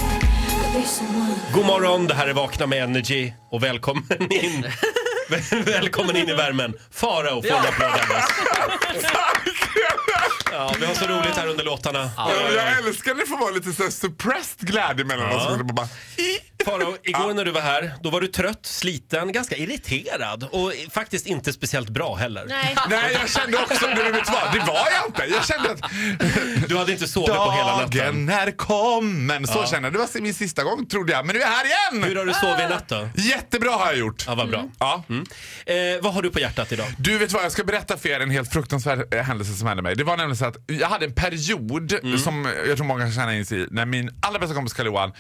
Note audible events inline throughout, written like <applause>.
had peace of mind. God morgon, det här är Vakna med Energy och välkommen in. <laughs> Väl- Välkommen in i värmen. Farao får en applåd av oss. Ja, vi har så roligt här under låtarna. Oj, Ja, oj, jag oj. älskar när det får vara lite så här suppressed glädje mellan oss. Man bara, Farao, igår när du var här, då var du trött, sliten, ganska irriterad och faktiskt inte speciellt bra heller. <laughs> Nej, jag kände också, men vet du vad? Det var jag inte. Jag <laughs> kände att Du hade inte sovit på hela natten. dagen är kommen. Så kände jag. Det var min sista gång trodde jag, men nu är jag här Hur igen! har du sovit i natt då? Jättebra har jag gjort. Ja, vad bra. Ja. Eh, vad har du på hjärtat idag? Du vet vad, jag ska berätta för er en helt fruktansvärd eh, händelse som hände mig. Det var nämligen så att jag hade en period Mm. som eh, jag tror många känner in sig i när min allra bästa kompis karl johan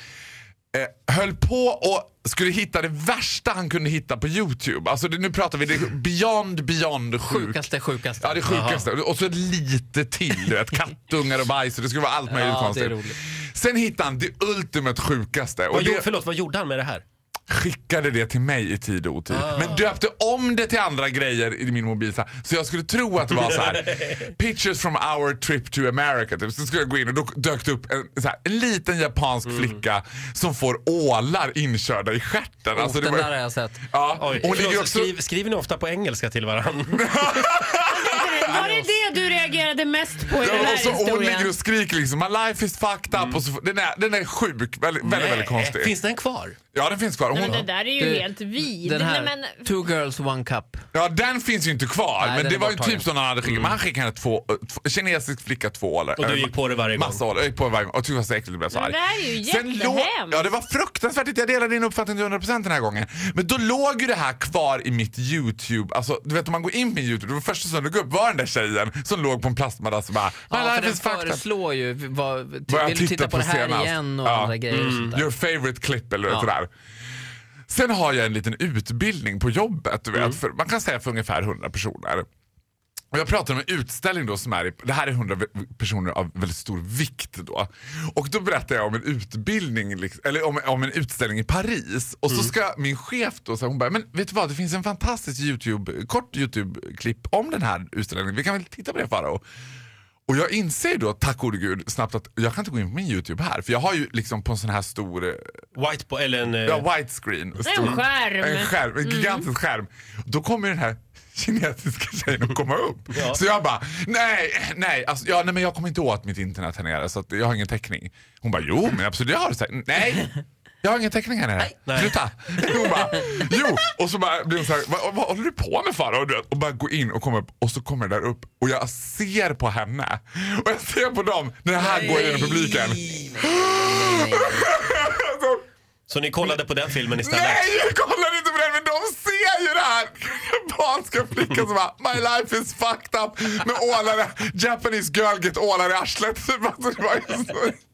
eh, höll på och skulle hitta det värsta han kunde hitta på Youtube. Alltså det, nu pratar vi det är beyond beyond sjukt. Sjukaste, sjukaste. Ja, det sjukaste. Och så lite till. Du vet, kattungar och bajs och det skulle vara allt möjligt Ja, det konstigt. är roligt. Sen hittade han det ultimat sjukaste. Och Vad, det, gjorde- Förlåt, vad gjorde han med det här? skickade det till mig i tid och otid. Ah. Men döpte om det till andra grejer i min mobil. Så, här, så jag skulle tro att det var så <laughs> här. Pictures from our trip to America. Typ. Så skulle jag gå in och då dök det upp en, så här, en liten japansk Mm. flicka som får ålar inkörda i stjärten. Alltså, det den var- där har jag sett. Ja, Oj, hon ligger förlåt, också... skriv, skriver ni ofta på engelska till <laughs> varandra? Var det det du reagerade mest på i den Ja, här och så hon historien? ligger och skriker liksom My life is fucked up. Och så, den, är, den är sjuk. Väldigt, väldigt, väldigt konstig. Mm. Finns den kvar? Ja, den finns kvar. Nej, men Hon, det där är ju Du, helt vid. Den här, Nej, men, Two girls one cup. Ja, den finns ju inte kvar. Nej, men den det är var ju borttagen. typ som han hade skickat. Men han skickade henne två, eh, två, kinesisk flicka två ålar. Mm. Och du gick på det varje gång? Massa ålar. Jag gick på det varje gång och tyckte det var så äckligt och blev så Men arg. det här är ju Sen låg- jättehemskt. Ja, det var fruktansvärt. Jag delar din uppfattning till 100% den här gången. Men då låg ju det här kvar i mitt YouTube. Alltså, du vet om man går in på YouTube, det första som dök upp var den där tjejen som låg på en plastmadrass och bara My Ja, för life den is fucked up. föreslår ju, vad, vill Vad jag du titta tittat på det här senast. igen och Ja. mm, andra grejer och sånt där. Your favorite clip eller Ja. sådär. Sen har jag en liten utbildning på jobbet. Du vet, Mm. för, man kan säga för ungefär 100 personer. Och jag pratar om en utställning då som är, i- det här är 100 v- personer av väldigt stor vikt då. Och då berättar jag om en utbildning, liksom, eller om, om en utställning i Paris. Och Mm. så ska min chef då, så här, hon bara, men vet du vad det finns en fantastisk YouTube, kort YouTube-klipp om den här utställningen. Vi kan väl titta på det Farao? Och jag inser då, tack gode gud, snabbt att jag kan inte gå in på min YouTube här. För jag har ju liksom på en sån här stor, eh, White på, eller en... eh, ja, white screen. Stor, skärm. En skärm, Mm. en gigantisk skärm. Då kommer ju den här kinesiska tjejen att komma upp. Ja. Så jag bara, nej, nej, alltså, ja, nej men jag kommer inte åt mitt internet här nere så att jag har ingen täckning. Hon bara, jo men absolut jag har det. Så här, Nej, jag har ingen täckning här nere. Nej. Sluta. Hon bara, jo. Och så bara blir hon så här, vad, vad håller du på med Farao? Och, du vet, och bara gå in och komma upp och så kommer det där upp och jag ser på henne och jag ser på dem när det här går genom publiken. Så ni kollade på den filmen istället? Nej, jag kollar inte på den, men de ser ju det här! Japanska flickan som bara My life is fucked up med ålar, i- Japanese girl get ålar i arslet. <laughs>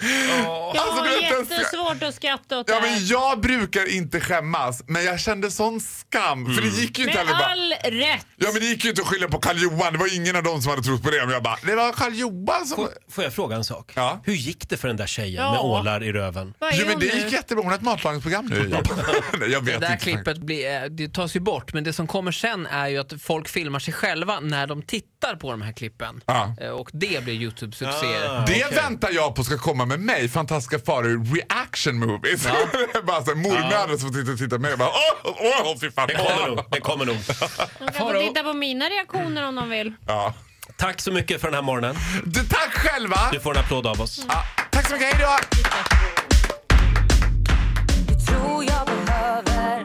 Alltså, det var ju så... Alltså, jag du har vet, jag- jättesvårt att skratta åt det Ja, här. men jag brukar inte skämmas, men jag kände sån skam. För Mm. det gick ju inte heller Med bara... all rätt. Ja, men det gick ju inte att skylla på Karl Johan. Det var ingen av dem som hade trott på det. Men jag bara, det var Karl Johan som... Får jag fråga en sak? Ja. Hur gick det för den där tjejen Ja. med ålar i röven? Vad är Jo, men hon det nu? gick jättebra. Hon har ett matlagningsprogram nu i Japan. <laughs> Nej, jag Det vet där inte. klippet blir, eh, det tas ju bort, men det som kommer sen är ju att folk filmar sig själva när de tittar på de här klippen. Ja. Eh, Och det blir YouTube-succéer. Ah. Det väntar jag på ska komma med mig, fantastiska faror reaction movies. <laughs> bara så här, mormödrar som sitter och tittar på mig och bara åh, åh, åh fy fan. Det kommer nog. Det kommer nog. De kan få titta på mina reaktioner om de vill. Ja. Tack så mycket för den här morgonen. Du, tack själva! Du får en applåd av oss. Ja, tack så mycket, hejdå! tror jag behöver